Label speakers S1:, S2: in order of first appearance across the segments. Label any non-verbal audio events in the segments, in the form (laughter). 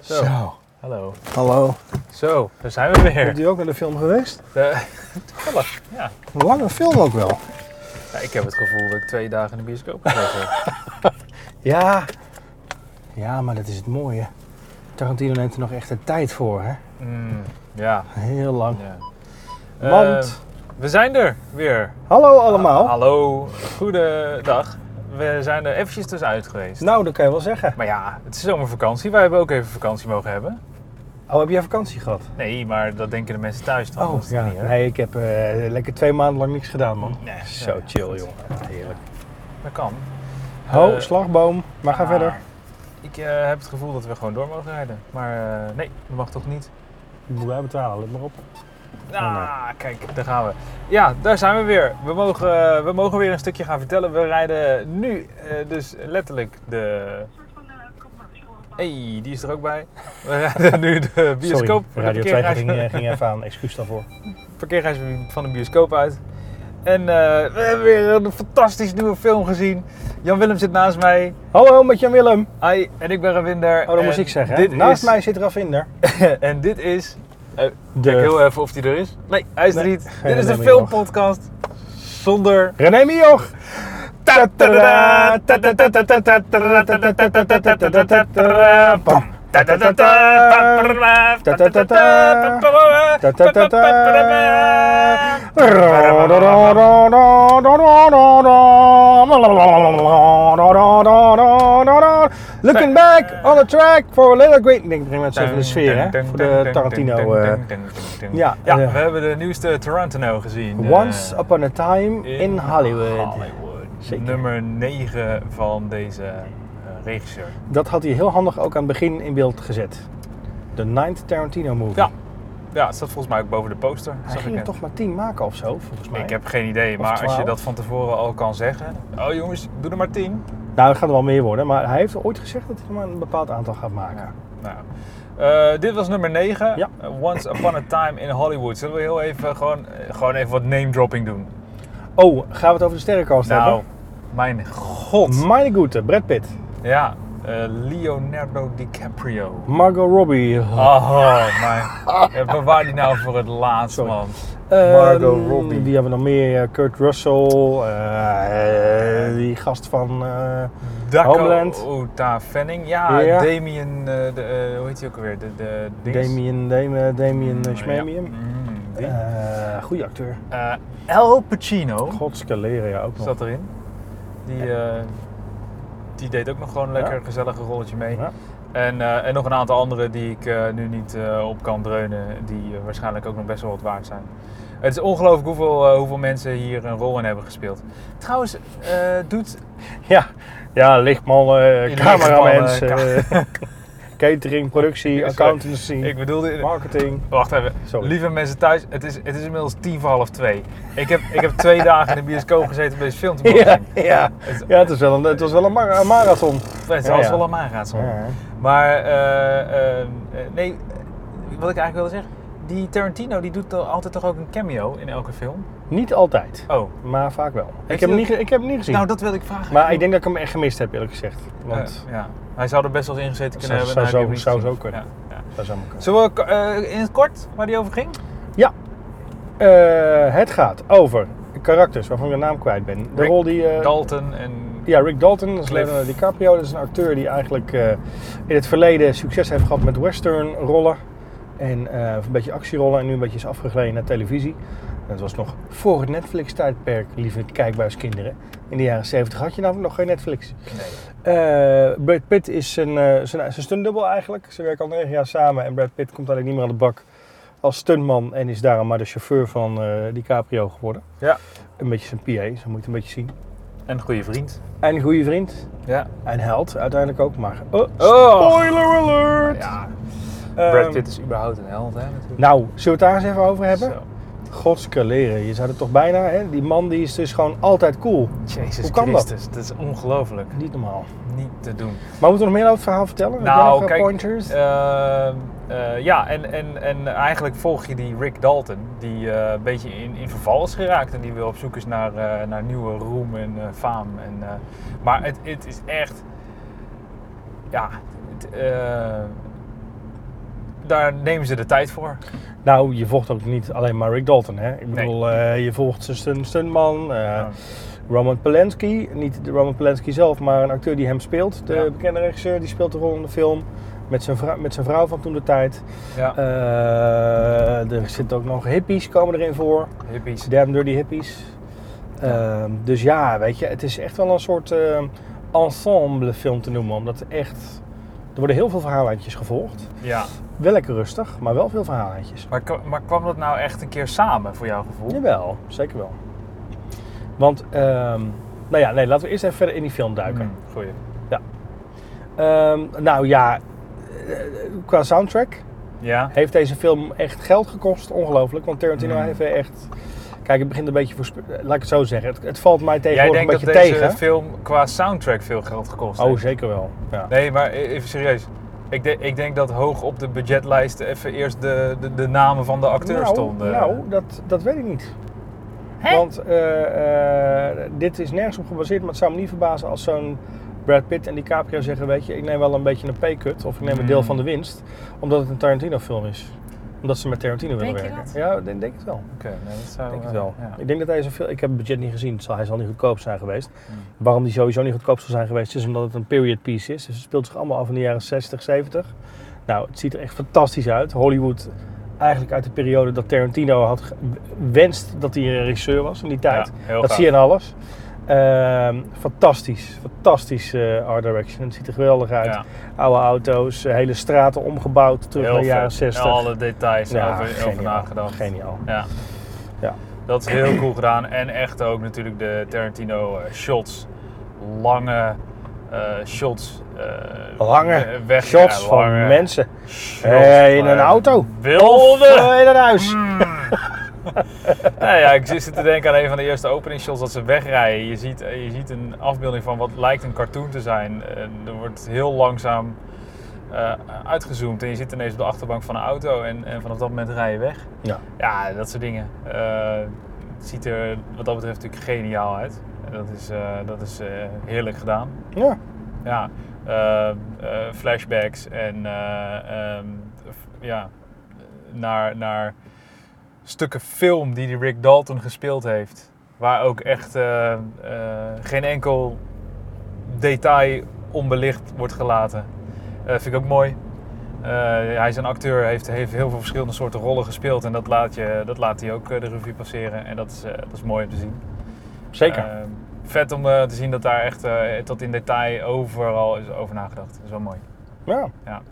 S1: Zo.
S2: Hallo.
S1: Hallo.
S2: Zo, daar zijn we
S1: Bent
S2: weer.
S1: u ook naar de film geweest?
S2: Eh, Toevallig, ja.
S1: Een lange film ook wel.
S2: ja. Ik heb het gevoel dat ik twee dagen in de bioscoop gezeten heb.
S1: Ja. Ja, maar dat is het mooie. Tarantino neemt er nog echt de tijd voor, hè?
S2: (laughs) Mm, ja.
S1: Heel lang.
S2: ja.
S1: Want-
S2: Eh, we zijn er weer.
S1: Hallo allemaal.
S2: Ah, hallo, goedendag. We zijn er eventjes tussenuit geweest.
S1: Nou, dat kan je wel zeggen.
S2: Maar ja, het is zomervakantie. Wij hebben ook even vakantie mogen hebben.
S1: Oh, heb jij vakantie gehad?
S2: Nee, maar dat denken de mensen thuis dan. dat is
S1: Oh, ja.
S2: niet, hè?
S1: Nee, ik heb eh, lekker twee maanden lang niks gedaan, man.
S2: Nee,
S1: Zo
S2: nee,
S1: chill,
S2: goed.
S1: jongen. Heerlijk.
S2: Dat kan.
S1: Ho,
S2: Eh,
S1: slagboom. Maar ga
S2: Ah,
S1: verder.
S2: Ik eh, heb het gevoel dat we gewoon door mogen rijden. Maar eh, nee, dat mag toch niet?
S1: Moet wij betalen, let maar op. Oh,
S2: Ah, kijk, daar gaan we. Ja, daar zijn we weer. We mogen, eh, we mogen weer een stukje gaan vertellen. We rijden nu eh, dus letterlijk de... hey, die is er ook bij. We (laughs) rijden nu de bioscoop... de
S1: Sorry, Radio 2
S2: parkeergarage-
S1: ging, eh, ging even aan. Excuus daarvoor.
S2: parkeergarage van de bioscoop uit. En eh, we hebben weer een fantastisch nieuwe film gezien. Jan Willem zit naast mij.
S1: Hallo, met Jan Willem.
S2: Hi, en ik ben Ravinder.
S1: Oh, dat
S2: En
S1: moest Oh, ik zeggen. hè?
S2: Dit
S1: Naast
S2: is-
S1: mij zit Ravinder.
S2: en dit is...
S1: De
S2: Kijk heel even of hij er is. Nee, hij is er
S1: Nee,
S2: niet.
S1: geen
S2: Dit is de
S1: René Mioch.
S2: filmpodcast zonder...
S1: René Mioch. Pam. Looking back on the track for a little great... Ik denk, breng mensen even in de sfeer, hè? Voor de Tarantino. eh.
S2: Ja,
S1: ja,
S2: ja,
S1: eh.
S2: we hebben de nieuwste Tarantino gezien. eh,
S1: Once upon a time in Hollywood.
S2: Hollywood.
S1: Zeker.
S2: Nummer 9 van deze eh, regisseur.
S1: Dat had hij heel handig ook aan het begin in beeld gezet. De Ninth Tarantino movie.
S2: Ja, ja, het staat volgens mij ook boven de poster.
S1: Hij
S2: zag
S1: ging
S2: ik
S1: er
S2: net.
S1: toch maar 10 maken of zo, volgens mij.
S2: Ik heb geen idee,
S1: Of
S2: maar als je
S1: 12.
S2: dat van tevoren al kan zeggen. Oh jongens, doe er maar 10.
S1: Nou, dat gaat er wel meer worden, maar hij heeft ooit gezegd dat hij er maar een bepaald aantal gaat maken.
S2: Nou, eh, dit was nummer 9.
S1: Ja.
S2: eh, Once Upon a Time in Hollywood. Zullen we heel even gewoon, eh, gewoon even wat name dropping doen?
S1: Oh, gaan we het over de sterrenkast
S2: Nou,
S1: hebben?
S2: mijn god.
S1: Meine Gute, Brad Pitt,
S2: Ja, eh, Leonardo DiCaprio.
S1: Margot Robbie.
S2: Oh,
S1: (laughs)
S2: mijn. Eh, Bewaar die nou voor het laatst,
S1: Sorry.
S2: man.
S1: Ehm,
S2: Margot Robbie.
S1: Wie hebben we nog meer? Eh, Kurt Russell, eh, eh, die gast van... eh, Homeland.
S2: Dakota Fanning. Ja,
S1: Ja.
S2: Damien, eh, de, eh, hoe heet hij ook alweer? De, de, dings?
S1: Damien, Damien, Damien eh,
S2: Ja.
S1: Schmemium.
S2: Mm, die.
S1: Eh, goede acteur.
S2: Eh, Al Pacino
S1: Godskeleren, ja, ook nog.
S2: zat erin. Die, eh, die deed ook nog gewoon een lekker
S1: Ja.
S2: gezellig rolletje mee.
S1: Ja.
S2: En, eh, en nog een aantal anderen die ik eh, nu niet eh, op kan dreunen, die eh, waarschijnlijk ook nog best wel wat waard zijn. Het is ongelooflijk hoeveel, eh, hoeveel mensen hier een rol in hebben gespeeld. Trouwens, eh, doet
S1: Ja, ja lichtmannen, eh,
S2: Lichtmannen,
S1: cameramensen,
S2: ka-
S1: eh, catering, productie,
S2: Sorry.
S1: accountancy,
S2: (laughs) ik bedoelde,
S1: marketing.
S2: Wacht even.
S1: Sorry.
S2: Lieve mensen thuis, het is, het is inmiddels tien voor half twee. Ik heb, ik heb twee dagen in de bioscoop gezeten om deze film
S1: (laughs)
S2: te mogen
S1: Ja,
S2: zien.
S1: ja.
S2: Het,
S1: ja het, is wel een, het was wel een, mar- een marathon.
S2: het
S1: Ja,
S2: was
S1: ja.
S2: wel aan mij gaat zo.
S1: Ja.
S2: Maar, eh, eh, nee, eh, wat ik eigenlijk wilde zeggen. Die Tarantino die doet toch altijd toch ook een cameo in elke film?
S1: Niet altijd,
S2: Oh,
S1: maar vaak wel. Ik
S2: Heeft
S1: heb,
S2: hij
S1: hem niet, ge- ik heb hem niet gezien.
S2: nou dat wil ik vragen.
S1: maar ik denk dat ik hem echt gemist heb, eerlijk gezegd.
S2: Eh,
S1: Want
S2: ja. Hij zou er best wel eens ingezeten kunnen
S1: Zou-
S2: hebben. en
S1: zou
S2: hij
S1: zo-
S2: heeft hem
S1: zou
S2: niet
S1: zo
S2: gezien. Ja, ja.
S1: dat zou maar kunnen.
S2: Zullen we eh, in het kort waar die over ging?
S1: Ja, Eh, het gaat over karakters waarvan ik de naam kwijt ben. De
S2: Rick
S1: rol die... eh,
S2: Dalton en...
S1: Ja, Rick Dalton, dat is
S2: Cliff.
S1: Leonardo DiCaprio. Dat is een acteur die eigenlijk eh, in het verleden succes heeft gehad met western-rollen. En eh, een beetje actierollen en nu een beetje is afgegleden naar televisie. Dat was nog voor het Netflix-tijdperk, lieve kijkbuiskinderen. In de jaren 70 had je namelijk nog geen Netflix.
S2: Nee.
S1: Eh, Brad Pitt is zijn, eh, zijn, zijn stuntdubbel eigenlijk. Ze werken al negen jaar samen en Brad Pitt komt eigenlijk niet meer aan de bak als stuntman. En is daarom maar de chauffeur van eh DiCaprio geworden.
S2: Ja.
S1: Een beetje zijn PA, zo moet je het een beetje zien.
S2: En een goede vriend.
S1: En een goede vriend.
S2: Ja.
S1: En held uiteindelijk ook, maar... Oh,
S2: Oh.
S1: Spoiler alert!
S2: Ja,
S1: Ehm,
S2: Brad Pitt is überhaupt een held, hè? Natuurlijk.
S1: Nou, zullen we het daar eens even over Nou, hebben?
S2: Zo.
S1: Godske leren, je zei het toch bijna, hè? Die man die is dus gewoon altijd cool.
S2: Jezus
S1: Hoe kan dat?
S2: Christus, dat? is ongelooflijk.
S1: Niet normaal.
S2: Niet te doen.
S1: Maar moeten we nog meer over het verhaal vertellen? Heb jij nog, eh, pointers?
S2: ehm, Nou, eh, ja, en, en, en eigenlijk volg je die Rick Dalton, die eh, een beetje in, in verval is geraakt en die weer op zoek is naar, eh, naar nieuwe roem en eh faam. En, eh, maar het, het is echt, ja, het, eh, daar nemen ze de tijd voor.
S1: Nou, je volgt ook niet alleen maar Rick Dalton. Hè? Ik bedoel, eh, je volgt zijn stunt- stuntman, eh,
S2: Ja.
S1: Roman Polanski. Niet de Roman Polanski zelf, maar een acteur die hem speelt. De
S2: Ja.
S1: bekende regisseur, die speelt de rol in de film. Met zijn, vrou- met zijn vrouw van toen de tijd.
S2: Ja,
S1: Eh, er zitten ook nog hippies komen erin voor.
S2: hippies.
S1: Damn Dirty Hippies. Ehm, dus ja, weet je, het is echt wel een soort ehm, ensemble film te noemen. Omdat echt, er worden heel veel verhaallijntjes gevolgd.
S2: Ja.
S1: Wel lekker rustig, maar wel veel verhaallijntjes.
S2: Maar, kwa- maar kwam dat nou echt een keer samen voor jouw gevoel?
S1: Jawel, zeker wel. Want, ehm, nou ja, nee, laten we eerst even verder in die film duiken.
S2: Mm, Goeie.
S1: Ehm, nou ja, eh, qua soundtrack
S2: Ja?
S1: heeft deze film echt geld gekost. Ongelooflijk, want Tarantino
S2: Mm.
S1: heeft echt... Kijk, het begint een beetje voor... Laat ik het zo zeggen. Het, het valt mij
S2: Jij
S1: tegenwoordig
S2: denkt dat
S1: een beetje
S2: deze
S1: tegen.
S2: film qua soundtrack veel geld gekost heeft?
S1: Oh, zeker wel. Ja.
S2: Nee, maar e- even serieus. Ik, de- ik denk dat hoog op de budgetlijst even eerst de, de, de namen van de acteurs
S1: nou,
S2: stonden.
S1: Nou, dat, dat weet ik niet.
S2: Hè?
S1: Want eh, eh, dit is nergens op gebaseerd, maar het zou me niet verbazen als zo'n Brad Pitt en DiCaprio zeggen: Weet je, ik neem wel een beetje een pay-cut of ik neem een deel
S2: Hmm.
S1: van de winst, omdat het een Tarantino-film is. Omdat ze met Tarantino willen
S2: Denk je
S1: werken. Ja, ik denk, denk het wel.
S2: Oké, nee, dat zou...
S1: Denk het
S2: eh,
S1: wel.
S2: ja.
S1: Ik denk dat hij zoveel. Ik heb het budget niet gezien, het zal, hij zal niet goedkoop zijn geweest.
S2: Hmm.
S1: Waarom die sowieso niet goedkoop zal zijn geweest, is omdat het een period piece is. Dus het speelt zich allemaal af in de jaren 60, 70. Nou, het ziet er echt fantastisch uit. Hollywood, eigenlijk uit de periode dat Tarantino had ge- wenst dat hij een regisseur was in die tijd.
S2: Ja, heel
S1: dat
S2: gaaf.
S1: zie je in alles. Ehm, fantastisch, fantastisch eh, art direction. Het ziet er geweldig uit.
S2: Ja,
S1: Oude auto's, eh, hele straten omgebouwd terug
S2: heel
S1: naar de jaren
S2: vet.
S1: 60.
S2: Alle details
S1: Ja,
S2: over, over nagedacht.
S1: Geniaal.
S2: Ja.
S1: Ja.
S2: Dat is heel cool gedaan. En echt ook natuurlijk de Tarantino eh, shots. Lange eh, shots. eh,
S1: Lange
S2: weg-
S1: shots
S2: ja,
S1: van
S2: lange
S1: mensen.
S2: shots
S1: Eh, in
S2: van Mm.
S1: een auto. Of
S2: Wilde.
S1: eh, in een huis.
S2: nou ja, ik zit te denken aan een van de eerste opening shots dat ze wegrijden. Je ziet, eh, je ziet een afbeelding van wat lijkt een cartoon te zijn. En er wordt heel langzaam eh, uitgezoomd. En je zit ineens op de achterbank van een auto. En, en vanaf dat moment rij je weg.
S1: Ja.
S2: Ja, dat soort dingen. Eh, het ziet er wat dat betreft natuurlijk geniaal uit. En Dat is, eh, dat is eh, heerlijk gedaan.
S1: ja.
S2: Ja, eh, eh, flashbacks en eh, ehm, f- ja, naar, naar stukken film die die Rick Dalton gespeeld heeft. Waar ook echt eh, eh, geen enkel detail onbelicht wordt gelaten. Eh, vind ik ook mooi. Eh, hij is een acteur, heeft, heeft heel veel verschillende soorten rollen gespeeld. En dat laat, je, dat laat hij ook eh, de revue passeren. En dat is, eh, dat is mooi om te zien.
S1: Zeker.
S2: Ehm, vet om eh, te zien dat daar echt eh, tot in detail overal is over nagedacht. Dat is wel mooi.
S1: ja.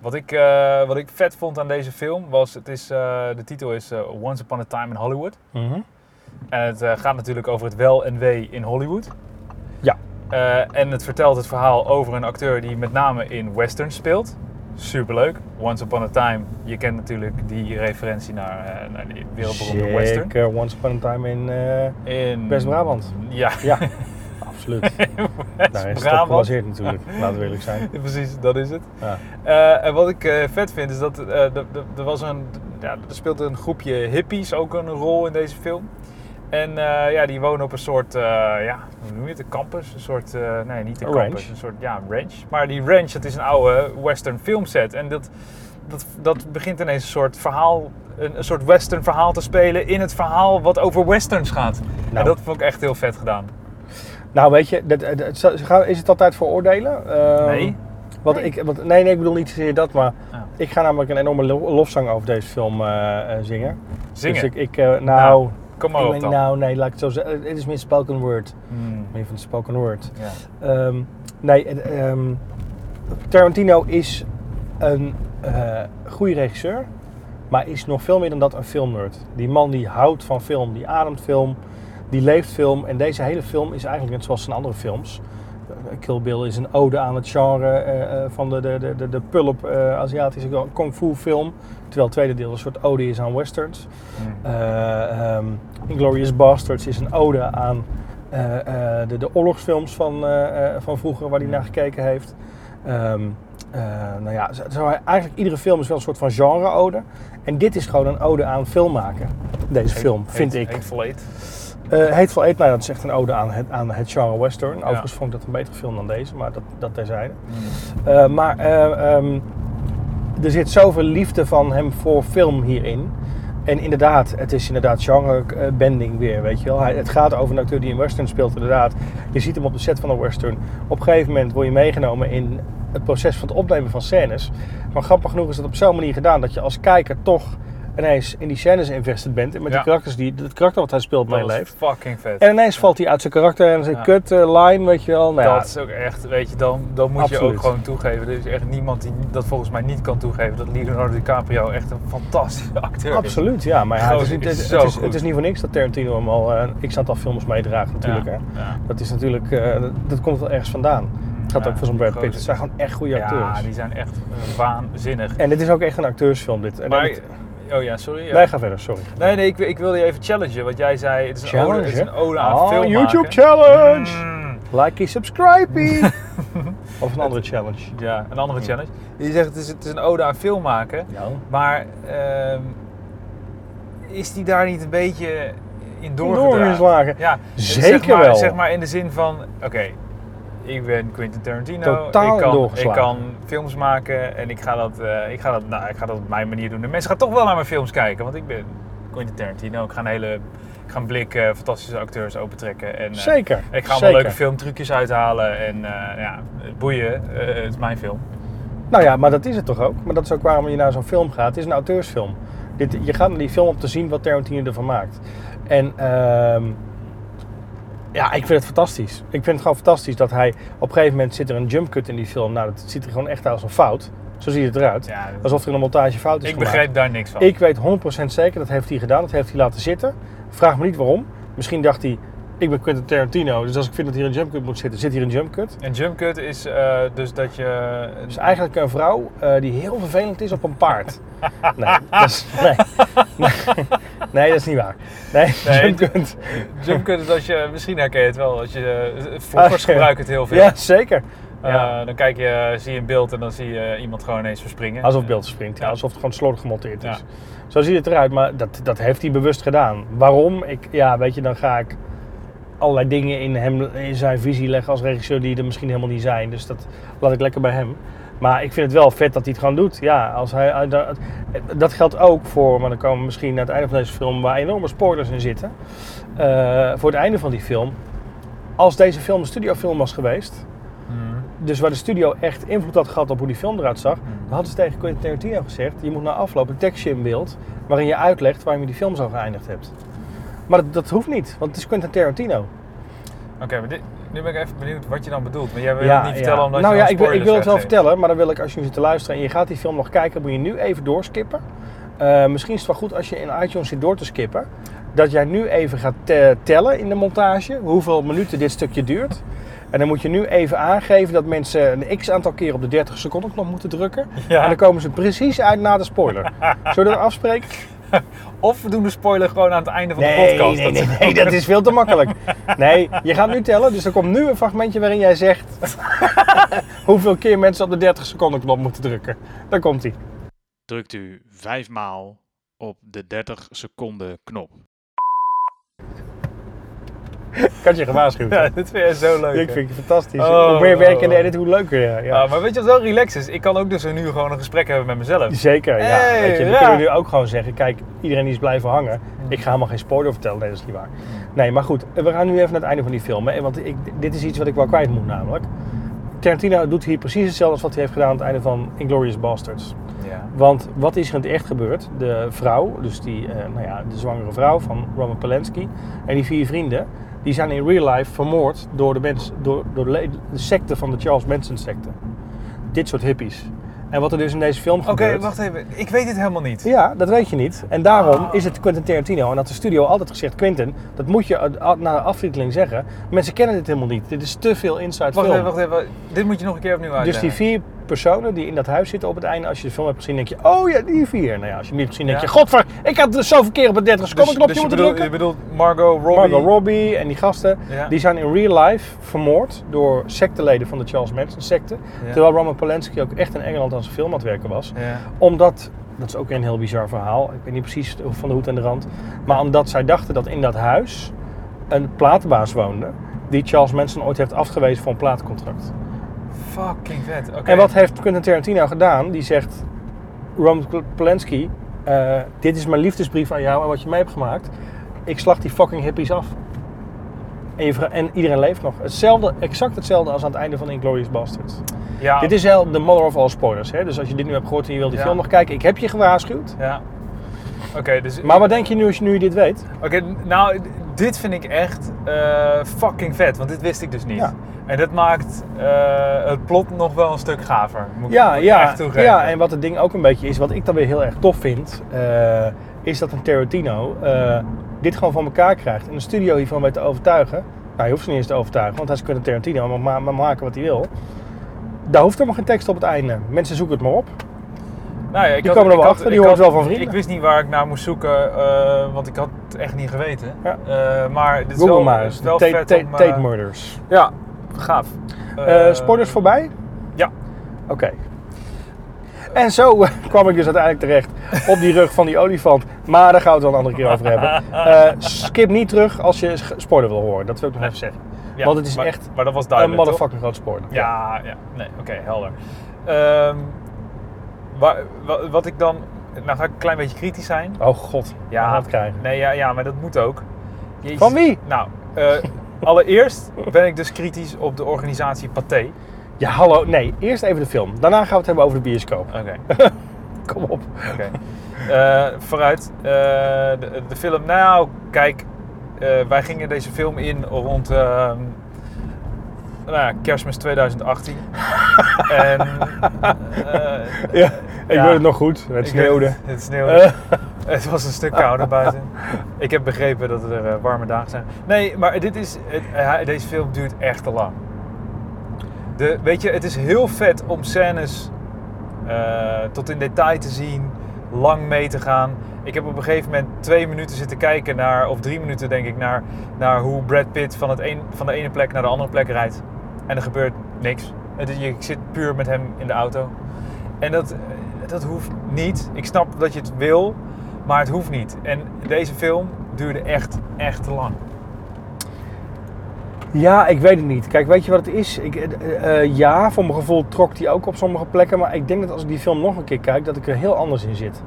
S2: Wat ik, eh, wat ik vet vond aan deze film was, het is, eh, de titel is eh, Once Upon a Time in Hollywood.
S1: Mhm.
S2: En het eh, gaat natuurlijk over het wel en wee in Hollywood.
S1: Ja.
S2: Eh, en het vertelt het verhaal over een acteur die met name in westerns speelt. Superleuk. Once Upon a Time, je kent natuurlijk die referentie naar, eh, naar die wereldberoemde western. Mm.
S1: Zeker. Once upon a time in eh,
S2: In
S1: West-Brabant.
S2: Ja. (laughs)
S1: Ja, absoluut. Daar is het op
S2: West-Brabant.
S1: gebaseerd natuurlijk, laten we eerlijk zijn.
S2: Ja, Precies, dat is het.
S1: Ja.
S2: Eh, en wat ik eh, vet vind is dat eh, er- er- er was een, ja, er speelt een groepje hippies ook een rol in deze film. En eh, ja, die wonen op een soort, eh, ja, hoe noem je het, een campus? Een soort, eh, nee, niet een
S1: Een
S2: campus,
S1: ranch.
S2: een soort, ja, een ranch. Maar die ranch, dat is een oude western filmset. En dat, dat, dat begint ineens een soort verhaal, een, een soort western verhaal te spelen in het verhaal wat over westerns gaat. En
S1: Nou.
S2: dat vond ik echt heel vet gedaan.
S1: Nou weet je, dat, dat- zo- ze gaan- is het altijd veroordelen? Ehm,
S2: Nee?
S1: Wat
S2: Nee. Ah.
S1: Ik, wat, nee, nee, ik bedoel niet zozeer dat, maar
S2: Ja.
S1: ik ga namelijk een enorme lo- lofzang over deze film eh, eh, zingen.
S2: Zingen.
S1: Dus ik, ik eh, nou,
S2: Kom maar
S1: ik
S2: op
S1: denk,
S2: dan.
S1: nou, nee, laat ik het zo zeggen. Het is meer spoken word.
S2: Hmm,
S1: Meer van het spoken word.
S2: ja.
S1: Ehm, nee, en, ehm, Tarantino is een eh goede regisseur, maar is nog veel meer dan dat een filmnerd. Die man die houdt van film, die ademt film, die leeft film. En deze hele film is eigenlijk net zoals zijn andere films. Eh, Kill Bill is een ode aan het genre eh, eh, van de, de, de, de, de pulp eh, Aziatische kung fu film. Terwijl het tweede deel een soort ode is aan westerns.
S2: Hmm.
S1: Eh, ehm, Inglourious Basterds is een ode aan eh, eh, de, de oorlogsfilms van, eh, eh, van vroeger waar hij naar gekeken heeft. Ehm, eh, nou ja, zo, zo- eigenlijk iedere film is wel een soort van genre-ode. En dit is gewoon een ode aan filmmaken. Deze film,
S2: Heet-
S1: vind
S2: heet-
S1: ik.
S2: heet volledig.
S1: Eh Hateful Eight, nou, dat is echt een ode aan het, aan het genre western.
S2: Ja.
S1: Overigens
S2: Mm.
S1: vond ik dat een betere film dan deze, maar dat, dat terzijde. Eh, maar eh, ehm, er zit zoveel liefde van hem voor film hierin. En inderdaad, het is inderdaad genre-bending weer, weet je wel. Hij, het gaat over een acteur die een western speelt, inderdaad. Je ziet hem op de set van een western. Op een gegeven moment word je meegenomen in het proces van het opnemen van scènes. Maar grappig genoeg is dat op zo'n manier gedaan dat je als kijker toch ineens in die scènes invested bent. En met
S2: Ja.
S1: de karakters die, het karakter wat hij speelt
S2: Dat was
S1: meeleeft.
S2: fucking vet.
S1: En ineens valt hij uit zijn karakter en zijn
S2: Ja.
S1: kut eh, line, weet je wel. Nou, ja,
S2: dat is ook echt, weet je, dan, dan moet je
S1: Absoluut.
S2: ook gewoon toegeven. Er is echt niemand die dat volgens mij niet kan toegeven. Dat Leonardo DiCaprio echt een fantastische (laughs) acteur is.
S1: Absoluut, ja. Maar ja,
S2: Gozer
S1: het, is niet,
S2: is
S1: het,
S2: zo
S1: het is,
S2: goed.
S1: het is niet voor niks dat Tarantino hem al eh, een x-aantal films meedraagt natuurlijk. Hè.
S2: Ja, ja.
S1: Dat is natuurlijk, eh, dat, dat komt wel ergens vandaan. Het gaat
S2: Ja,
S1: ook voor zo'n Brad Pitt.
S2: gozer.
S1: Het zijn gewoon echt goede acteurs.
S2: Ja, die zijn echt eh, waanzinnig.
S1: En dit is ook echt een acteursfilm dit. En
S2: Maar,
S1: dit-
S2: oh ja, sorry. ja.
S1: Wij gaan verder, sorry.
S2: Nee, nee, ik, ik wilde je even challengen, want jij zei het is een ode, het is
S1: hè?
S2: een ode aan
S1: Oh,
S2: film
S1: YouTube
S2: maken.
S1: challenge!
S2: Mm.
S1: Likey,
S2: (laughs)
S1: subscribey! of een andere challenge.
S2: Ja, een andere challenge. Je zegt het is, het is een ode aan film maken,
S1: Nou,
S2: maar ehm, is die daar niet een beetje in doorgedraaid?
S1: doorgeslagen.
S2: Ja,
S1: Zeker
S2: zeg maar,
S1: wel.
S2: Zeg maar in de zin van, oké, ik ben Quentin Tarantino.
S1: Totaal
S2: ik kan, ik
S1: doorgeslagen.
S2: kan films maken en ik ga, dat, eh, ik, ga dat, nou, ik ga dat op mijn manier doen. De mensen gaan toch wel naar mijn films kijken, want ik ben Quentin Tarantino. Ik ga een hele ik ga een blik eh, fantastische acteurs opentrekken. En, eh,
S1: Zeker.
S2: Ik ga allemaal
S1: Zeker.
S2: leuke filmtrucjes uithalen en eh, ja, boeien, eh, het is mijn film.
S1: Nou ja, maar dat is het toch ook? Maar dat is ook waarom je naar zo'n film gaat. Het is een auteursfilm. Dit, je gaat naar die film om te zien wat Tarantino ervan maakt. En ehm, ja, ik vind het fantastisch. Ik vind het gewoon fantastisch dat hij... Op een gegeven moment zit er een jumpcut in die film. Nou, dat ziet er gewoon echt uit als een fout. Zo ziet het eruit.
S2: Ja, dat-
S1: Alsof er in een montage fout is
S2: ik
S1: gemaakt.
S2: begreep daar niks van.
S1: Ik weet 100% zeker, dat heeft hij gedaan, dat heeft hij laten zitten. Vraag me niet waarom. Misschien dacht hij, ik ben Quentin Tarantino, dus als ik vind dat hier een jumpcut moet zitten, zit hier een jumpcut.
S2: Een jumpcut is eh, dus dat je...
S1: Dus eigenlijk een vrouw eh, die heel vervelend is op een
S2: (laughs)
S1: paard. Nee, dat is, nee, nee, (laughs) nee, dat is niet waar. Nee,
S2: Nee,
S1: (laughs) jumpcut.
S2: Jumpcut is dat je, misschien herken je het wel, als je
S1: (laughs)
S2: eh, vloggers
S1: Ah, ja.
S2: gebruiken het heel veel.
S1: Ja, zeker.
S2: Eh,
S1: Ja.
S2: dan kijk je, zie je een beeld en dan zie je iemand gewoon ineens verspringen.
S1: Alsof beeld springt, ja,
S2: Ja.
S1: alsof het gewoon slordig gemonteerd is.
S2: Ja.
S1: Zo ziet het eruit, maar dat, dat heeft hij bewust gedaan. Waarom? Ik, ja, weet je, dan ga ik allerlei dingen in, hem, in zijn visie leggen als regisseur die er misschien helemaal niet zijn. Dus dat laat ik lekker bij hem. Maar ik vind het wel vet dat hij het gewoon doet. Ja, als hij, hij- dat- dat geldt ook voor, maar dan komen we misschien naar het einde van deze film waar enorme spoilers in zitten. Eh, voor het einde van die film. Als deze film een studiofilm was geweest,
S2: Mhm.
S1: dus waar de studio echt invloed had gehad op hoe die film eruit
S2: Hmm.
S1: zag, dan hadden ze tegen Quentin Tarantino gezegd: je moet na afloop een tekstje in beeld waarin je uitlegt waarom je die film zo geëindigd hebt. Maar dat, dat hoeft niet, want het is Quentin Tarantino.
S2: Oké, maar dit, nu ben ik even benieuwd wat je dan bedoelt. Maar jij wil
S1: Ja,
S2: het niet vertellen
S1: ja.
S2: omdat
S1: nou
S2: je
S1: ja,
S2: dan
S1: ik, wil- ik wil het wel
S2: spoilers
S1: vertellen, maar dan wil ik als je nu zit te luisteren en je gaat die film nog kijken, moet je nu even doorskippen. Eh, misschien is het wel goed als je in iTunes zit door te skippen, dat jij nu even gaat te- tellen in de montage hoeveel minuten dit stukje duurt. En dan moet je nu even aangeven dat mensen een x aantal keer op de 30 seconden knop moeten drukken.
S2: weggeeft.
S1: En dan komen ze precies uit na de spoiler. Zullen we dat afspreken?
S2: Ja. Of we doen de spoiler gewoon aan het einde van de podcast.
S1: nee,
S2: Dat-
S1: nee, nee, (laughs) dat is veel te makkelijk. Nee, je gaat nu tellen, dus er komt nu een fragmentje waarin jij zegt (laughs) hoeveel keer mensen op de 30 seconden knop moeten drukken. Daar komt hij.
S3: drukt u vijfmaal op de 30 seconden knop.
S1: Ik had je gewaarschuwd.
S2: (laughs) Ja, dit vind jij zo leuk.
S1: ik
S2: hè?
S1: vind het fantastisch.
S2: Oh,
S1: hoe meer
S2: oh,
S1: werk in de
S2: oh.
S1: edit, hoe leuker. Ja, ja.
S2: Ah, maar weet je wat wel relax is? Ik kan ook dus nu gewoon een gesprek hebben met mezelf.
S1: Zeker, ja.
S2: Hey,
S1: Weet je, we
S2: ja.
S1: kunnen nu ook gewoon zeggen, kijk, iedereen die is blijven hangen. Ik ga helemaal geen spoiler vertellen, nee, dat is niet waar. Nee, maar goed, we gaan nu even naar het einde van die film. Hè, want ik, dit is iets wat ik wel kwijt moet namelijk. Tarantino doet hier precies hetzelfde als wat hij heeft gedaan aan het einde van Inglourious Basterds.
S2: Ja.
S1: Want wat is er in het echt gebeurd? De vrouw, dus die, eh, nou ja, de zwangere vrouw van Roman Polanski en die vier vrienden, die zijn in real life vermoord door de, mens, door, door de, le- de secte van de Charles Manson secte. Dit soort hippies. En wat er dus in deze film
S2: Oké,
S1: gebeurt...
S2: wacht even. Ik weet dit helemaal niet.
S1: Ja, dat weet je niet. En daarom is het Quentin Tarantino. En had de studio altijd gezegd, Quentin, dat moet je eh, a- na de aftiteling zeggen. Mensen kennen dit helemaal niet. Dit is te veel inside
S2: Wacht
S1: film.
S2: even, wacht even. Dit moet je nog een keer opnieuw
S1: Dus
S2: uitleggen.
S1: die vier personen die in dat huis zitten op het einde, als je de film hebt gezien, denk je, oh ja, die vier. Nou ja, als je hem niet hebt gezien, denk
S2: Ja. Dus-
S1: je, godver, ik had dus zoveel keer op het 30 seconden knopje
S2: je,
S1: moeten
S2: bedoelt, je
S1: drukken.
S2: bedoelt Margot Robbie.
S1: Margot Robbie en die gasten,
S2: Ja.
S1: die zijn in real life vermoord door secteleden van de Charles Manson secte.
S2: Ja.
S1: Terwijl Roman Polanski ook echt in Engeland aan zijn film aan het werken was.
S2: Ja.
S1: Omdat, dat is ook weer een heel bizar verhaal, ik weet niet precies van de hoed en de rand, maar omdat zij dachten dat in dat huis een platenbaas woonde, die Charles Manson ooit heeft afgewezen voor een platencontract.
S2: Fucking vet. Oké.
S1: En wat heeft Quentin Tarantino gedaan? Die zegt, Roman Polanski, eh, dit is mijn liefdesbrief aan jou en wat je mee hebt gemaakt. Ik slag die fucking hippies af. En, je vra- en iedereen leeft nog. Hetzelfde, exact hetzelfde als aan het einde van Inglourious Bastards.
S2: Ja.
S1: Dit is wel de mother of all spoilers. Hè? Dus als je dit nu hebt gehoord en je wilt die
S2: Ah. Ja.
S1: film nog kijken, ik heb je gewaarschuwd.
S2: Ja. Oké, dus...
S1: Maar wat denk je nu als je nu dit weet?
S2: Oké, nou, d- dit vind ik echt eh, fucking vet, want dit wist ik dus niet.
S1: Ja.
S2: En dat maakt eh, het plot nog wel een stuk gaver. Moet ik-
S1: Ja,
S2: moet ik
S1: ja,
S2: echt toegeven.
S1: ja, en wat het ding ook een beetje is, wat ik dan weer heel erg tof vind, eh, is dat een Tarantino eh, dit gewoon van elkaar krijgt. En een studio hiervan weet te overtuigen. Nou, je hoeft ze niet eens te overtuigen, want hij is kunnen Tarantino maar, ma- maar maken wat hij wil. Daar hoeft helemaal geen tekst op het einde. Mensen zoeken het maar op.
S2: Nou ja, ik
S1: Die komen er wel
S2: ik
S1: achter, die
S2: ik
S1: horen het wel van vrienden.
S2: Ik wist niet waar ik naar moest zoeken, eh, want ik had het echt niet geweten.
S1: Ja.
S2: Eh, maar dit is
S1: Google
S2: wel,
S1: maar
S2: het
S1: eens.
S2: is wel
S1: Tate,
S2: vet
S1: Tate-
S2: om, eh,
S1: Tate Murders.
S2: Ja, gaaf.
S1: Eh,
S2: Eh,
S1: spoilers voorbij?
S2: ja.
S1: Oké. En zo eh, (laughs) kwam ik dus uiteindelijk terecht op die rug van die olifant. Maar daar gaan we het wel een andere keer over hebben.
S2: (laughs)
S1: Eh, skip niet terug als je sch- spoiler wil horen. Dat wil ik nog even zeggen.
S2: Ja,
S1: want het is
S2: maar-
S1: echt
S2: Maar dat was
S1: Een
S2: duidelijk, toch?
S1: motherfucking groot spoiler.
S2: Ja, ja. Nee, oké, helder. Ehm, wa- wa- wat ik dan... Nou ga ik een klein beetje kritisch zijn.
S1: Oh god. Ja. Dat krijgen.
S2: Nee, ja, ja, maar dat moet ook. Jezus.
S1: Van wie?
S2: Nou, eh, (laughs) allereerst ben ik dus kritisch op de organisatie Pathé.
S1: Ja, hallo. Nee, eerst even de film. Daarna gaan we het hebben over de bioscoop.
S2: Oké.
S1: Kom op.
S2: Oké. Eh, vooruit. Eh, de, de film. Nou, kijk. eh, wij gingen deze film in rond. ehm, nou ja, kerstmis
S1: (laughs)
S2: 2018. en. eh,
S1: Ja, ik
S2: Ja.
S1: wil het nog goed. Het
S2: ik weet-
S1: sneeuwde. Eh,
S2: Het sneeuwde.
S1: (laughs)
S2: (laughs) Het was een stuk kouder buiten. Ik heb begrepen dat er eh, warme dagen zijn. Nee, maar dit is, het- eh, hij- deze film duurt echt te lang. De, weet je, het is heel vet om scènes eh, tot in detail te zien, lang mee te gaan. Ik heb op een gegeven moment twee minuten zitten kijken naar, of drie minuten denk ik, naar, naar hoe Brad Pitt van, het een, van de ene plek naar de andere plek rijdt. En er gebeurt niks. Het is- je- ik zit puur met hem in de auto. En dat, dat hoeft niet. Ik snap dat je het wil, maar het hoeft niet. En deze film duurde echt, echt te lang.
S1: Ja, ik weet het niet. Kijk, weet je wat het is? Ik, eh, eh, ja, voor mijn gevoel trok die ook op sommige plekken. Maar ik denk dat als ik die film nog een keer kijk, dat ik er heel anders in zit.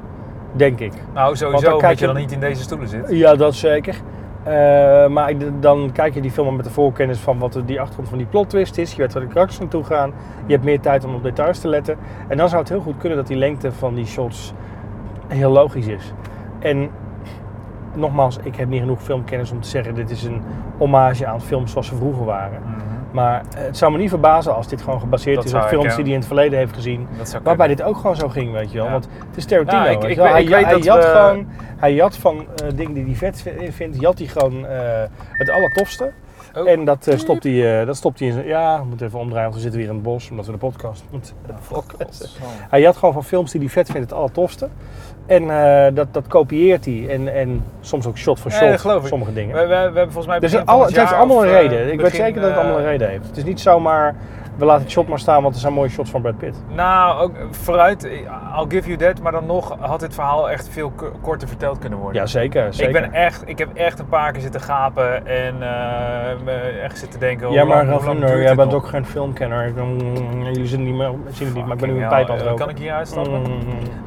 S1: Denk ik.
S2: Nou,
S1: Want dan
S2: sowieso,
S1: kijk
S2: omdat je
S1: je-
S2: dan niet in deze stoelen zit.
S1: Ja, dat zeker. Eh, maar ik- dan kijk je die film al met de voorkennis van wat de- die achtergrond van die plot twist is. Je weet waar de karakters naartoe gaan. Je hebt meer tijd om op details te letten. En dan zou het heel goed kunnen dat die lengte van die shots heel logisch is. En nogmaals, ik heb niet genoeg filmkennis om te zeggen... dit is een hommage aan films zoals ze vroeger waren.
S2: Mhm,
S1: Maar eh, het zou me niet verbazen als dit gewoon gebaseerd
S2: Dat
S1: is op
S2: zou ik,
S1: films
S2: ja.
S1: die hij in het verleden heeft gezien.
S2: Dat zou
S1: Waarbij
S2: kunnen.
S1: dit ook gewoon zo ging, weet je wel.
S2: Ja.
S1: Want het is Tarantino.
S2: Nou, ik-
S1: weet
S2: ik
S1: je
S2: weet-
S1: wel. hij,
S2: ik weet
S1: hij
S2: dat
S1: jat
S2: we-
S1: gewoon, hij jat van eh, dingen die hij vet v- vindt, jat hij gewoon eh, het allertofste.
S2: Oh.
S1: En dat, eh, stopt hij, eh, dat stopt hij in zijn... Ja, we moeten even omdraaien, want we zitten weer in het bos. Omdat we de podcast moeten hij had gewoon van films die hij vet vindt het allertofste. En eh, dat, dat kopieert hij. en, en soms ook shot voor
S2: Ja,
S1: shot,
S2: dat geloof ik.
S1: sommige
S2: We,
S1: dingen.
S2: we, we hebben volgens mij
S1: Dus
S2: begin
S1: het,
S2: van
S1: alle-
S2: het
S1: het heeft
S2: jaar
S1: allemaal
S2: of,
S1: een
S2: eh,
S1: reden. Ik weet
S2: begin,
S1: zeker dat het
S2: eh,
S1: allemaal een reden heeft. Het is niet zomaar, we laten het shot maar staan, want er zijn mooie shots van Brad Pitt.
S2: Nou, ook vooruit, I'll give you that, maar dan nog had dit verhaal echt veel k- korter verteld kunnen worden.
S1: Ja, zeker. zeker.
S2: Ik, ben echt, ik heb echt een paar keer zitten gapen en eh, me echt zitten denken.
S1: ja,
S2: hoe
S1: maar
S2: lang- hoe lang
S1: Ravinder,
S2: duurt
S1: jij
S2: dit
S1: bent
S2: nog?
S1: ook geen filmkenner. Ik- mm, Jullie zien het niet, meer, zien het niet maar ik ben nu een
S2: Fucking
S1: pijp aan
S2: hell,
S1: het
S2: eh,
S1: roken.
S2: Kan ik hier uitstappen?
S1: Mm.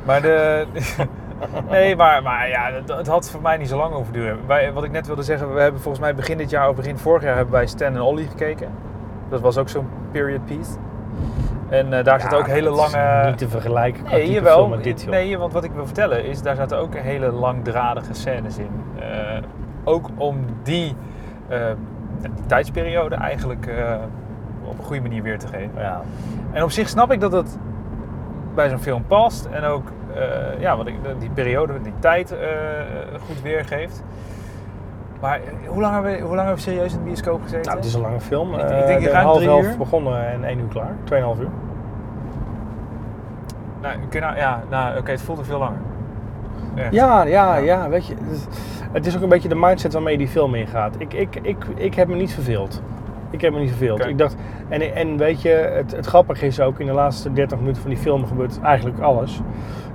S2: Maar de. (laughs) nee, maar, maar ja, het, het had voor mij niet zo lang over duren. Wij, wat ik net wilde zeggen, we hebben volgens mij begin dit jaar of begin vorig jaar hebben wij Stan en Ollie gekeken. Dat was ook zo'n period piece. En eh, daar zitten ook
S1: Ja,
S2: hele
S1: dat Ah, is
S2: lange.
S1: Niet te vergelijken qua
S2: Nee,
S1: type
S2: jawel.
S1: film met dit, joh.
S2: nee, want wat ik wil vertellen is, daar zaten ook hele langdradige scènes in. Eh, ook om die, eh, die tijdsperiode eigenlijk eh, op een goede manier weer te geven.
S1: Ja.
S2: En op zich snap ik dat het bij zo'n film past. En ook eh, ja, wat ik, die periode, die tijd eh, goed weergeeft. Maar eh, hoe lang hebben we, hoe lang hebben we serieus in de bioscoop gezeten?
S1: Nou, het is een lange film.
S2: Ik- ik
S1: Eh,
S2: denk
S1: de
S2: ruim
S1: half
S2: drie
S1: elf
S2: uur.
S1: begonnen en één uur klaar. Tweeënhalf uur.
S2: Nou, kun je nou- ja, nou, oké, het voelde veel langer. Echt.
S1: Ja, ja, ja, weet je. Het is, het is ook een beetje de mindset waarmee je die film ingaat. Ik, ik, ik, ik heb me niet verveeld. Ik heb me niet verveeld.
S2: Oké.
S1: Ik dacht, en, en weet je, het, het grappige is ook, in de laatste 30 minuten van die film gebeurt eigenlijk alles.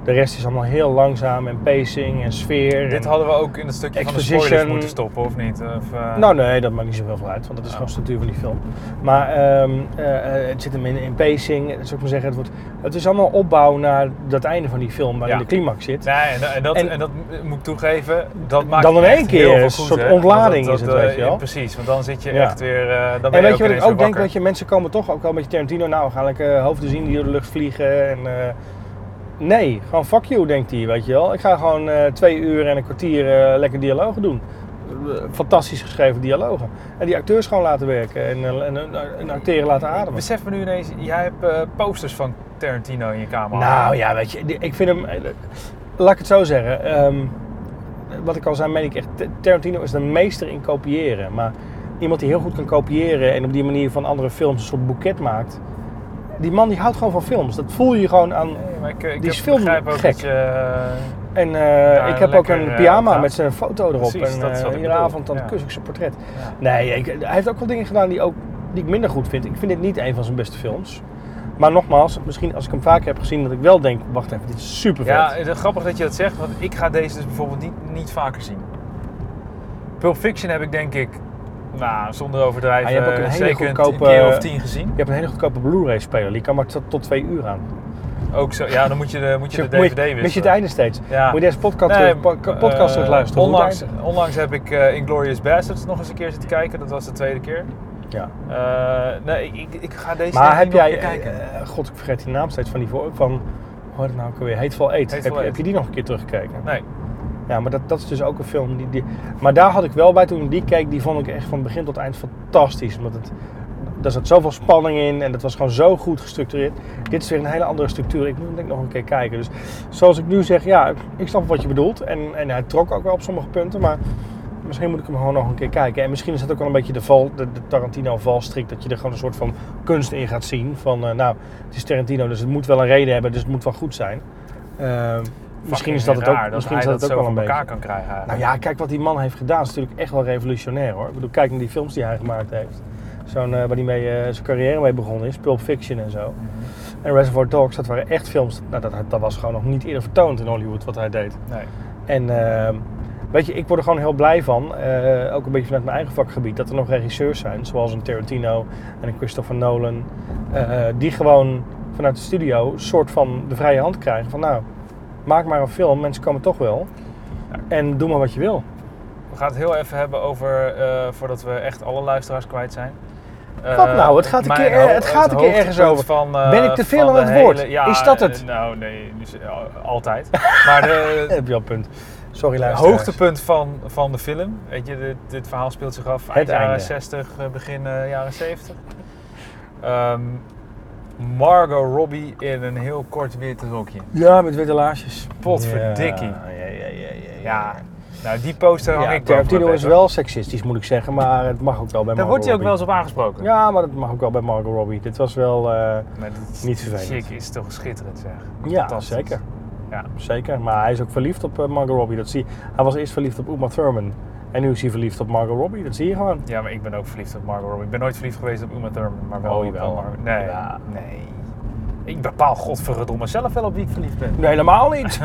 S1: De rest is allemaal heel langzaam en pacing en sfeer.
S2: Dit
S1: en-
S2: hadden we ook in het stukje van de spoilers
S1: Exposition.
S2: moeten stoppen, of niet? Of, eh,
S1: Nou nee, dat maakt niet zoveel uit, want dat is
S2: Oh.
S1: gewoon structuur van die film. Maar ehm, eh, eh, het zit hem in, in pacing, eh, zou ik maar zeggen. Het, wordt, het is allemaal opbouw naar dat einde van die film, waarin
S2: Ja.
S1: de climax zit.
S2: Nee, en, en dat, en,
S1: En-
S2: dat moet ik toegeven, dat maakt
S1: Dan in
S2: echt
S1: één keer
S2: heel veel
S1: een
S2: goed,
S1: soort
S2: hè.
S1: ontlading
S2: Dat- dat-
S1: is het,
S2: eh,
S1: weet je wel.
S2: Precies, want dan zit je
S1: Ja.
S2: echt weer, eh, dan ben
S1: En
S2: je
S1: weet je wat ik
S2: ineens
S1: ook
S2: weer
S1: denk? Dat
S2: wakker.
S1: je mensen komen toch ook al met je Tarantino. Nou, ga ik eh, hoofden zien die door de lucht vliegen. En, eh, nee, gewoon fuck you, denkt hij, weet je wel. Ik ga gewoon eh, twee uur en een kwartier eh, lekker dialogen doen. Eh, Fantastisch geschreven dialogen. En die acteurs gewoon laten werken en, eh, en, en- en acteren laten
S2: Ik
S1: ademen.
S2: Besef me nu ineens, jij hebt eh, posters van Tarantino in je kamer.
S1: Nou ja, weet je, die- ik vind hem... eh, Laat ik het zo zeggen. ehm, wat ik al zei, meen ik echt... Tarantino is de meester in kopiëren. Maar iemand die heel goed kan kopiëren en op die manier van andere films een soort boeket maakt... Die man die houdt gewoon van films. Dat voel je gewoon aan...
S2: Nee, maar ik, ik
S1: Die
S2: heb-
S1: is veel
S2: begrijp ook
S1: gek.
S2: dat je...
S1: En eh, ik heb
S2: lekker,
S1: ook een
S2: eh,
S1: pyjama
S2: opdracht.
S1: met zijn foto erop.
S2: Precies,
S1: en
S2: dat is wat
S1: eh,
S2: ik
S1: iedere
S2: bedoel.
S1: avond dan
S2: Ja.
S1: kus ik zijn portret.
S2: Ja.
S1: Nee, ik- hij heeft ook wel dingen gedaan die, ook, die ik minder goed vind. Ik vind dit niet een van zijn beste films. Maar nogmaals, misschien als ik hem vaker heb gezien, dat ik wel denk, wacht even, dit is super vet.
S2: Ja, het is grappig dat je dat zegt, want ik ga deze dus bijvoorbeeld niet, niet vaker zien. Pulp Fiction heb ik denk ik, nou, zonder overdrijven,
S1: Ah, je hebt ook een hele
S2: zeker
S1: goedkope,
S2: een keer of
S1: eh,
S2: tien gezien.
S1: Je hebt een hele goedkope Blu-ray speler, die kan maar tot, tot twee uur aan.
S2: Ook zo, ja, dan moet je de, moet je de
S1: moet
S2: DVD
S1: je,
S2: wisselen.
S1: mis je het einde steeds.
S2: eh. Ja.
S1: Moet je deze podcast,
S2: Nee,
S1: terug, po- podcast
S2: eh,
S1: terug luisteren. hoe het
S2: Onlangs, onlangs heb ik eh, Inglourious Bastards nog eens een keer zitten kijken, dat was de tweede keer.
S1: einde- Ja.
S2: Eh, nee, ik, ik ga deze
S1: Maar
S2: denk
S1: heb
S2: ik niet nog
S1: jij,
S2: een keer kijken.
S1: eh, god ik vergeet die naam steeds van die voor, van, hoor het nou ook alweer, Hateful Eight.
S2: Hateful
S1: heb, je-
S2: Eight.
S1: heb je die nog een keer teruggekeken?
S2: nee,
S1: Ja, maar dat, dat is dus ook een film die, die... Maar daar had ik wel bij toen ik die keek, die vond ik echt van begin tot eind fantastisch. Omdat het, daar zat zoveel spanning in en dat was gewoon zo goed gestructureerd. Dit is weer een hele andere structuur. Ik moet hem denk ik nog een keer kijken. Dus zoals ik nu zeg, ja, ik snap wat je bedoelt. En, en hij trok ook wel op sommige punten, maar misschien moet ik hem gewoon nog een keer kijken. En misschien is dat ook wel een beetje de, val, de, de Tarantino-valstrik. Dat je er gewoon een soort van kunst in gaat zien. Van, eh, nou, het is Tarantino, dus het moet wel een reden hebben, dus het moet wel goed zijn. Eh, misschien
S2: fucking
S1: is dat het ook,
S2: raar
S1: misschien
S2: hij
S1: is dat het
S2: zo
S1: ook wel
S2: van
S1: een beetje.
S2: elkaar kan krijgen eigenlijk.
S1: Nou ja, kijk wat die man heeft gedaan. is natuurlijk echt wel revolutionair hoor. Ik bedoel, kijk naar die films die hij gemaakt heeft. Zo'n, eh, waar hij mee, eh, zijn carrière mee begonnen is. Pulp Fiction en zo. En Reservoir Dogs, dat waren echt films. Nou, dat, dat was gewoon nog niet eerder vertoond in Hollywood wat hij deed.
S2: Nee.
S1: En ehm, weet je, ik word er gewoon heel blij van. eh, ook een beetje vanuit mijn eigen vakgebied. Dat er nog regisseurs zijn. Zoals een Tarantino en een Christopher Nolan. eh, die gewoon vanuit de studio een soort van de vrije hand krijgen. Van nou, maak maar een film. Mensen komen toch wel. En doe maar wat je wil.
S2: We gaan het heel even hebben over, eh, voordat we echt alle luisteraars kwijt zijn. Eh,
S1: Wat nou? Het gaat een
S2: mijn
S1: keer er-
S2: ho-
S1: het gaat een keer ergens
S2: hoogtepunt
S1: over.
S2: Van, eh,
S1: Ben ik te veel
S2: van
S1: aan
S2: de
S1: het woord? Is dat het?
S2: eh, Nou, nee, dus, eh, altijd. (laughs) Maar de,
S1: Eh, Heb je al een punt. Sorry
S2: het
S1: luisteraars.
S2: hoogtepunt van, van de film, weet je, dit, dit verhaal speelt zich af eind
S1: Het
S2: jaren
S1: einde.
S2: 60, eh, begin eh, jaren 70. Ehm, Margot Robbie in een heel kort wit rokje.
S1: Ja, met witte laarsjes.
S2: Potverdikkie.
S1: Ja, ja, ja, ja. ja,
S2: Ja, nou die poster hang
S1: Ja,
S2: ik boven
S1: Tarantino
S2: mijn
S1: is
S2: bed,
S1: wel seksistisch, moet ik zeggen. Maar het mag ook wel bij
S2: Daar
S1: Margot
S2: wordt hij ook wel
S1: Robbie.
S2: eens op aangesproken.
S1: Ja, maar dat mag ook wel bij Margot Robbie. Dit was wel... eh,
S2: Maar dit,
S1: Niet vervelend.
S2: Chick is toch schitterend zeg.
S1: ja,
S2: Fantastisch.
S1: zeker.
S2: Ja.
S1: Zeker. Maar hij is ook verliefd op eh, Margot Robbie. Dat zie Hij was eerst verliefd op Uma Thurman. En nu is hij verliefd op Margot Robbie. Dat zie je gewoon.
S2: Ja, maar ik ben ook verliefd op Margot Robbie. Ik ben nooit verliefd geweest op Uma Thurman, maar wel
S1: Oh,
S2: op
S1: jawel.
S2: Margot. Nee,
S1: Ja.
S2: nee. Ik bepaal godverdomme zelf wel op wie ik verliefd
S1: (laughs)
S2: ben.
S1: Nee, helemaal
S2: (laughs)
S1: niet.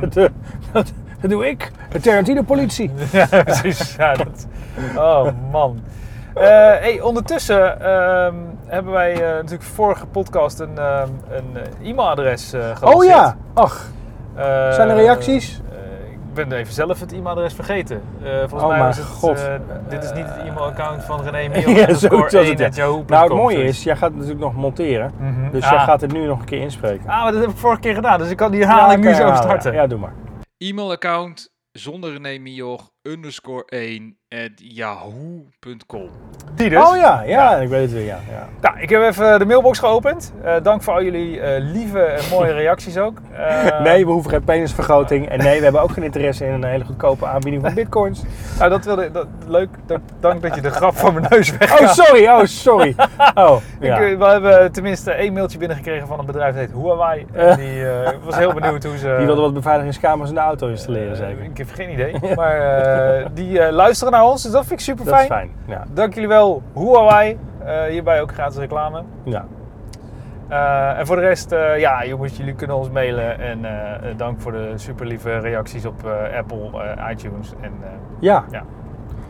S1: dat, eh, dat, dat doe ik. De Tarantino-politie.
S2: ja, precies. Ja, dat... Oh man. Eh, hey, ondertussen ehm, hebben wij eh, natuurlijk vorige podcast een, ehm, een eh, e-mailadres eh gelanceerd.
S1: Oh ja. Ach,
S2: Eh,
S1: Zijn er reacties?
S2: eh, ik ben even zelf het e-mailadres vergeten. Eh, volgens
S1: Oh,
S2: mij
S1: maar
S2: was het,
S1: God.
S2: eh, dit is niet het e-mailaccount van
S1: (laughs)
S2: René
S1: Ja,
S2: Miel. ja,
S1: zoiets was het, ja. nou het mooie
S2: zoiets.
S1: is, jij gaat het natuurlijk nog monteren.
S2: Mhm.
S1: Dus
S2: Ah.
S1: jij gaat het nu nog een keer inspreken.
S2: Ah, maar dat heb ik vorige keer gedaan, dus ik kan die herhaling
S1: Ja,
S2: nu
S1: kan je
S2: zo
S1: halen,
S2: starten.
S1: Ja, Ja, doe maar.
S3: E-mailaccount zonder René Mioch underscore 1 at yahoo.com.
S2: Die dus.
S1: Oh ja, ja, ik weet het weer. Ja, ja.
S2: Nou, ik heb even de mailbox geopend. Eh, dank voor al jullie eh, lieve en
S1: (laughs)
S2: mooie reacties ook. Eh,
S1: nee, we hoeven geen penisvergroting. En nee, we hebben ook geen interesse in een hele goedkope aanbieding
S2: (laughs)
S1: van bitcoins.
S2: Nou, dat wilde dat, leuk. Dat, dank dat je de grap van mijn neus weg.
S1: Oh, sorry. Oh,
S2: (laughs)
S1: sorry. Oh, ja.
S2: Ik, eh, we hebben tenminste één mailtje binnengekregen van een bedrijf dat heet Huawei. En die eh, was heel benieuwd hoe ze...
S1: Die wilde wat beveiligingscamera's in de auto installeren,
S2: Eh,
S1: zeker.
S2: Ik heb geen idee. Maar
S1: (laughs)
S2: eh, die eh, luisteren naar ons, dus dat vind ik super
S1: Dat is
S2: fijn.
S1: fijn. Ja.
S2: Dank jullie wel, Huawei. Eh, hierbij ook gratis reclame.
S1: ja.
S2: Eh, Eh, en voor de rest, eh, ja jongens, jullie kunnen ons mailen. En eh, eh, dank voor de super lieve reacties op eh, Apple, eh, iTunes en eh,
S1: Ja.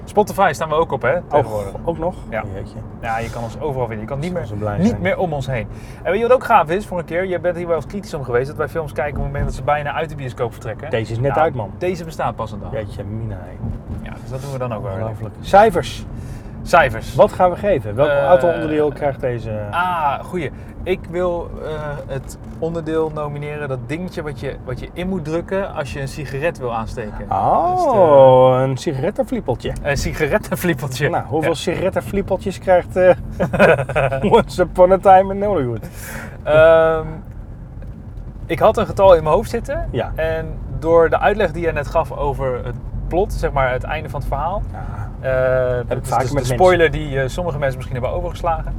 S2: Spotify staan we ook op, hè? Tegenwoordig.
S1: Ook, ook nog?
S2: Ja.
S1: Jeetje.
S2: Ja, je kan ons overal vinden. Je kan niet,
S1: Zullen
S2: meer,
S1: ze blij
S2: niet
S1: zijn.
S2: meer om ons heen. En weet je wat ook gaaf is voor een keer? Je bent hier wel eens kritisch om geweest dat wij films kijken op het moment dat ze bijna uit de bioscoop vertrekken.
S1: Deze is net
S2: Nou,
S1: uit, man.
S2: Deze bestaat pas een dag.
S1: Jeetje, mina. hé.
S2: Ja, dus dat doen we dan ook wel.
S1: Ongelooflijk. Cijfers.
S2: Cijfers.
S1: Wat gaan we geven? Welk
S2: Eh,
S1: aantal onderdeel krijgt deze?
S2: Ah, goeie. Ik wil eh, het onderdeel nomineren, dat dingetje wat je, wat je in moet drukken als je een sigaret wil aansteken. dus
S1: Oh,
S2: de-
S1: een sigarettenfliepeltje.
S2: Een sigarettenflippeltje.
S1: Nou, hoeveel sigarettenfliepeltjes krijgt
S2: (laughs)
S1: eh Once Upon a Time in Hollywood?
S2: Ehm, ik had een getal in mijn hoofd zitten.
S1: Ja.
S2: En door de uitleg die jij net gaf over het plot, zeg maar het einde van het verhaal. eh, dat is
S1: vaak
S2: dus
S1: met
S2: de spoiler die eh, sommige mensen misschien hebben overgeslagen.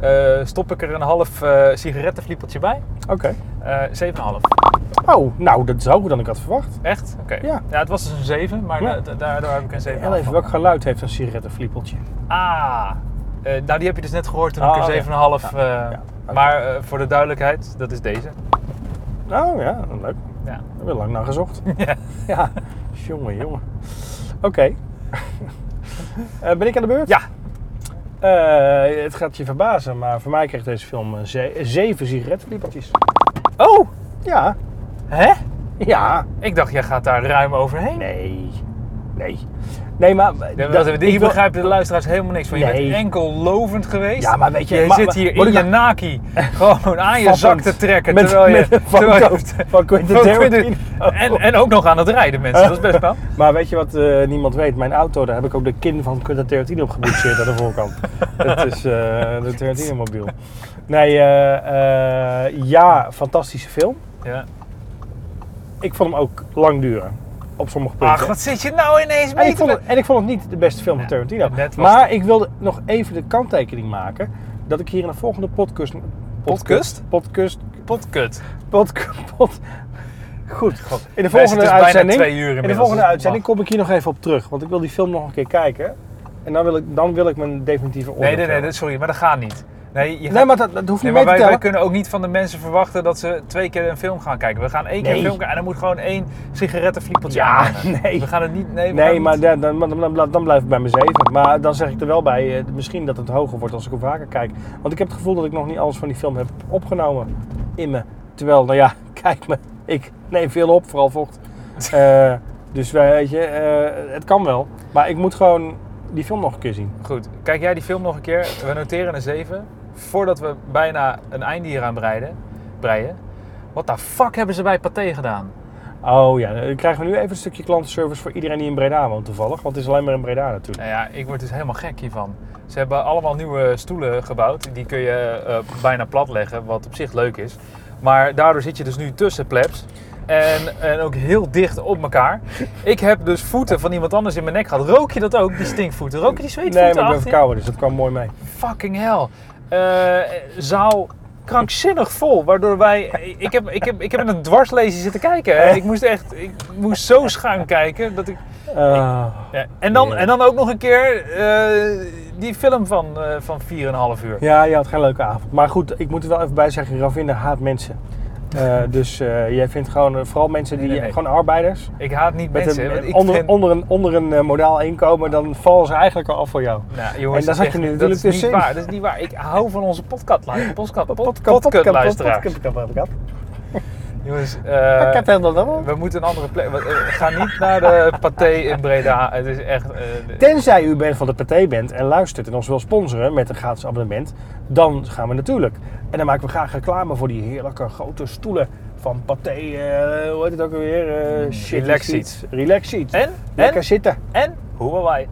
S2: eh, stop ik er een half eh sigarettenfliepeltje bij.
S1: Oké.
S2: Eh 7,5.
S1: Oh, nou, dat is hoger dan ik had verwacht.
S2: Echt? Oké.
S1: Ja.
S2: het was dus een 7, maar
S1: Ja.
S2: da- da- daardoor heb ik een 7.
S1: Heel even, welk geluid heeft een sigarettenfliepeltje?
S2: Ah, eh, nou die heb je dus net gehoord toen
S1: Ah,
S2: ik
S1: oh, ja.
S2: er 7,5. eh
S1: ja. Oké.
S2: Maar eh, voor de duidelijkheid, dat is deze.
S1: Oh ja, leuk.
S2: Ja.
S1: Daar hebben we lang naar gezocht.
S2: (laughs) Ja.
S1: ja, jongen, jongen. Oké. (laughs) Eh, ben ik aan de beurt?
S2: ja,
S1: Eh, het gaat je verbazen, maar voor mij kreeg deze film een ze- zeven sigarettenflippertjes.
S2: Oh,
S1: Ja,
S2: hè?
S1: ja.
S2: Ik dacht, jij gaat daar ruim overheen.
S1: Nee, nee. Nee, maar...
S2: Dat,
S1: dat-
S2: dat,
S1: ik
S2: hier
S1: wil-
S2: begrijpen de luisteraars helemaal niks van. Je
S1: Nee.
S2: bent enkel lovend geweest.
S1: Ja, maar weet je,
S2: Je
S1: maar-
S2: zit
S1: maar-
S2: hier
S1: moet
S2: in
S1: ik
S2: je
S1: nou- (laughs)
S2: naki gewoon aan je
S1: Vappend.
S2: zak te trekken.
S1: Met-
S2: terwijl je,
S1: met een
S2: (laughs) terwijl je-
S1: foto (laughs) van Quentin
S2: van Quentin-
S1: Tarantino.
S2: En, en ook nog aan het rijden, mensen. Dat is best
S1: (laughs)
S2: wel.
S1: Maar weet je wat eh, niemand weet? Mijn auto, daar heb ik ook de kin van Quentin Tarantino op geboetseerd aan de
S2: (laughs)
S1: voorkant. Dat is eh, de Tarantino mobiel. Nee, eh, eh, ja, fantastische film.
S2: Ja.
S1: Ik vond hem ook lang duren. Op sommige punten.
S2: Ach, wat zit je nou ineens
S1: en,
S2: mee
S1: ik
S2: te
S1: vond het,
S2: doen?
S1: en ik vond het niet de beste film van
S2: Ja,
S1: Tarantino.
S2: net was
S1: Maar ik wilde nog even de kanttekening maken. Dat ik hier in de volgende podcast...
S2: Podcast?
S1: Podcast?
S2: Potkut.
S1: Podcast? pod- Goed.
S2: God,
S1: In de
S2: wij zitten
S1: volgende
S2: dus bijna
S1: uitzending,
S2: twee uur
S1: in de
S2: inmiddels,
S1: volgende
S2: dus-
S1: uitzending kom ik hier nog even op terug. Want ik wil die film nog een keer kijken. En dan wil ik, dan wil ik mijn definitieve oordeel
S2: Nee, nee, nee,
S1: vellen.
S2: dat- sorry, maar dat gaat niet. Nee, je gaat-
S1: Nee, maar dat, dat hoeft
S2: Nee, maar
S1: niet mee te
S2: wij, wij
S1: tellen.
S2: kunnen ook niet van de mensen verwachten dat ze twee keer een film gaan kijken. We gaan één keer
S1: Nee.
S2: een film kijken en dan moet gewoon één sigarettenfliepeltje
S1: Ja,
S2: aanhangen.
S1: (laughs) nee.
S2: We gaan het niet... Nee, we gaan
S1: Nee,
S2: het
S1: maar
S2: niet-
S1: dan, dan, dan, dan- dan blijf ik bij mijn zeven. Maar dan zeg ik er wel bij, eh, misschien dat het hoger wordt als ik hem vaker kijk. Want ik heb het gevoel dat ik nog niet alles van die film heb opgenomen in me. Terwijl, nou ja, (laughs) kijk me, ik neem veel op, vooral
S2: (laughs)
S1: vocht. Eh, dus weet je, eh, het kan wel. Maar ik moet gewoon die film nog een keer zien.
S2: Goed, kijk jij die film nog een keer. We noteren een 7. Voordat we bijna een einde hier aan breiden, breien. Wat de fuck hebben ze bij Pathé gedaan?
S1: Oh ja, dan krijgen we nu even een stukje klantenservice voor iedereen die in Breda woont toevallig. Want het is alleen maar in Breda natuurlijk.
S2: Nou ja, ik word dus helemaal gek hiervan. Ze hebben allemaal nieuwe stoelen gebouwd. Die kun je eh, bijna plat leggen, wat op zich leuk is. Maar daardoor zit je dus nu tussen plebs. En, en ook heel dicht op elkaar. Ik heb dus voeten van iemand anders in mijn nek gehad. Rook je dat ook, die stinkvoeten? Rook je die
S1: Nee,
S2: zweetvoeten
S1: maar ik ben
S2: achter je?
S1: verkouden, dus dat kwam mooi mee.
S2: fucking hell. Eh, zaal krankzinnig vol, waardoor wij... Ik heb, ik heb, ik heb met een dwarslezing zitten kijken. hè. Ik moest echt... Ik moest zo schuin kijken dat ik...
S1: Ah.
S2: Ja, en, dan, en dan ook nog een keer eh, die film van, eh van 4,5 uur.
S1: Ja, je had geen leuke avond. Maar goed, ik moet er wel even bij zeggen, Ravinda haat mensen. Eh, dus eh, jij vindt gewoon, eh, vooral mensen die,
S2: Nee, nee, nee.
S1: gewoon arbeiders,
S2: Ik haat niet
S1: met
S2: mensen.
S1: een,
S2: want ik
S1: onder,
S2: vind-
S1: onder een, onder een eh, modaal inkomen, dan vallen ze eigenlijk al af voor jou.
S2: Nou, jongens,
S1: en
S2: dat
S1: daar zat je
S2: is
S1: nu
S2: echt-
S1: natuurlijk
S2: dat is niet
S1: tussenin.
S2: waar. Dat is niet waar. Ik hou van onze podcastluisteraars.
S1: (laughs)
S2: Podcast, pod,
S1: Podcast,
S2: podcastluisteraars.
S1: podcast, podcast, podcast.
S2: Jongens, eh,
S1: Pakket helemaal dan.
S2: we moeten een andere plek. we- eh, Ga niet naar de
S1: (laughs)
S2: Pathé in Breda. Het is echt... eh,
S1: Tenzij u bent van de partij bent en luistert en ons wil sponsoren met een gratis abonnement, dan gaan we natuurlijk. En dan maken we graag reclame voor die heerlijke grote stoelen van Pathé, eh, hoe heet het ook alweer? Eh, shit,
S2: Hmm, relax
S1: die
S2: seat.
S1: seat. Relax seat.
S2: En?
S1: Lekker
S2: En?
S1: zitten.
S2: En? Huawei.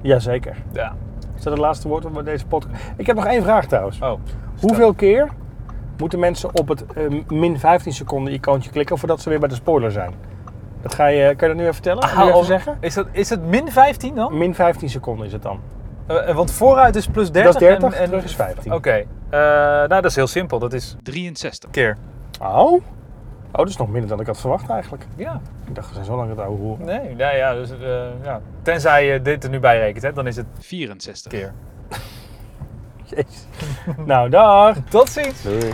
S1: Jazeker.
S2: Ja.
S1: Is dat het laatste woord op deze podcast? Ik heb nog één vraag trouwens.
S2: Oh.
S1: Hoeveel keer moeten mensen op het eh, min 15 seconden icoontje klikken voordat ze weer bij de spoiler zijn? Dat ga je, kan je dat nu even vertellen? Nu even zeggen?
S2: Is, dat, is het min 15 dan?
S1: Min 15 seconden is het dan.
S2: Eh, eh, want vooruit is plus 30.
S1: Dat is 30,
S2: en, en-
S1: terug is 15.
S2: Oké. Eh, nou, dat is heel simpel. Dat is
S3: 63.
S2: keer.
S1: Oh? Oh, dat is nog minder dan ik had verwacht eigenlijk.
S2: Ja.
S1: Ik dacht, we zijn zo lang aan het oude hoeren.
S2: Nee. Nou ja, dus, eh, ja. Tenzij je dit er nu bij rekent, hè, dan is het
S3: 64.
S2: keer. Jezus. nou, dag.
S1: Tot ziens!
S2: Doei.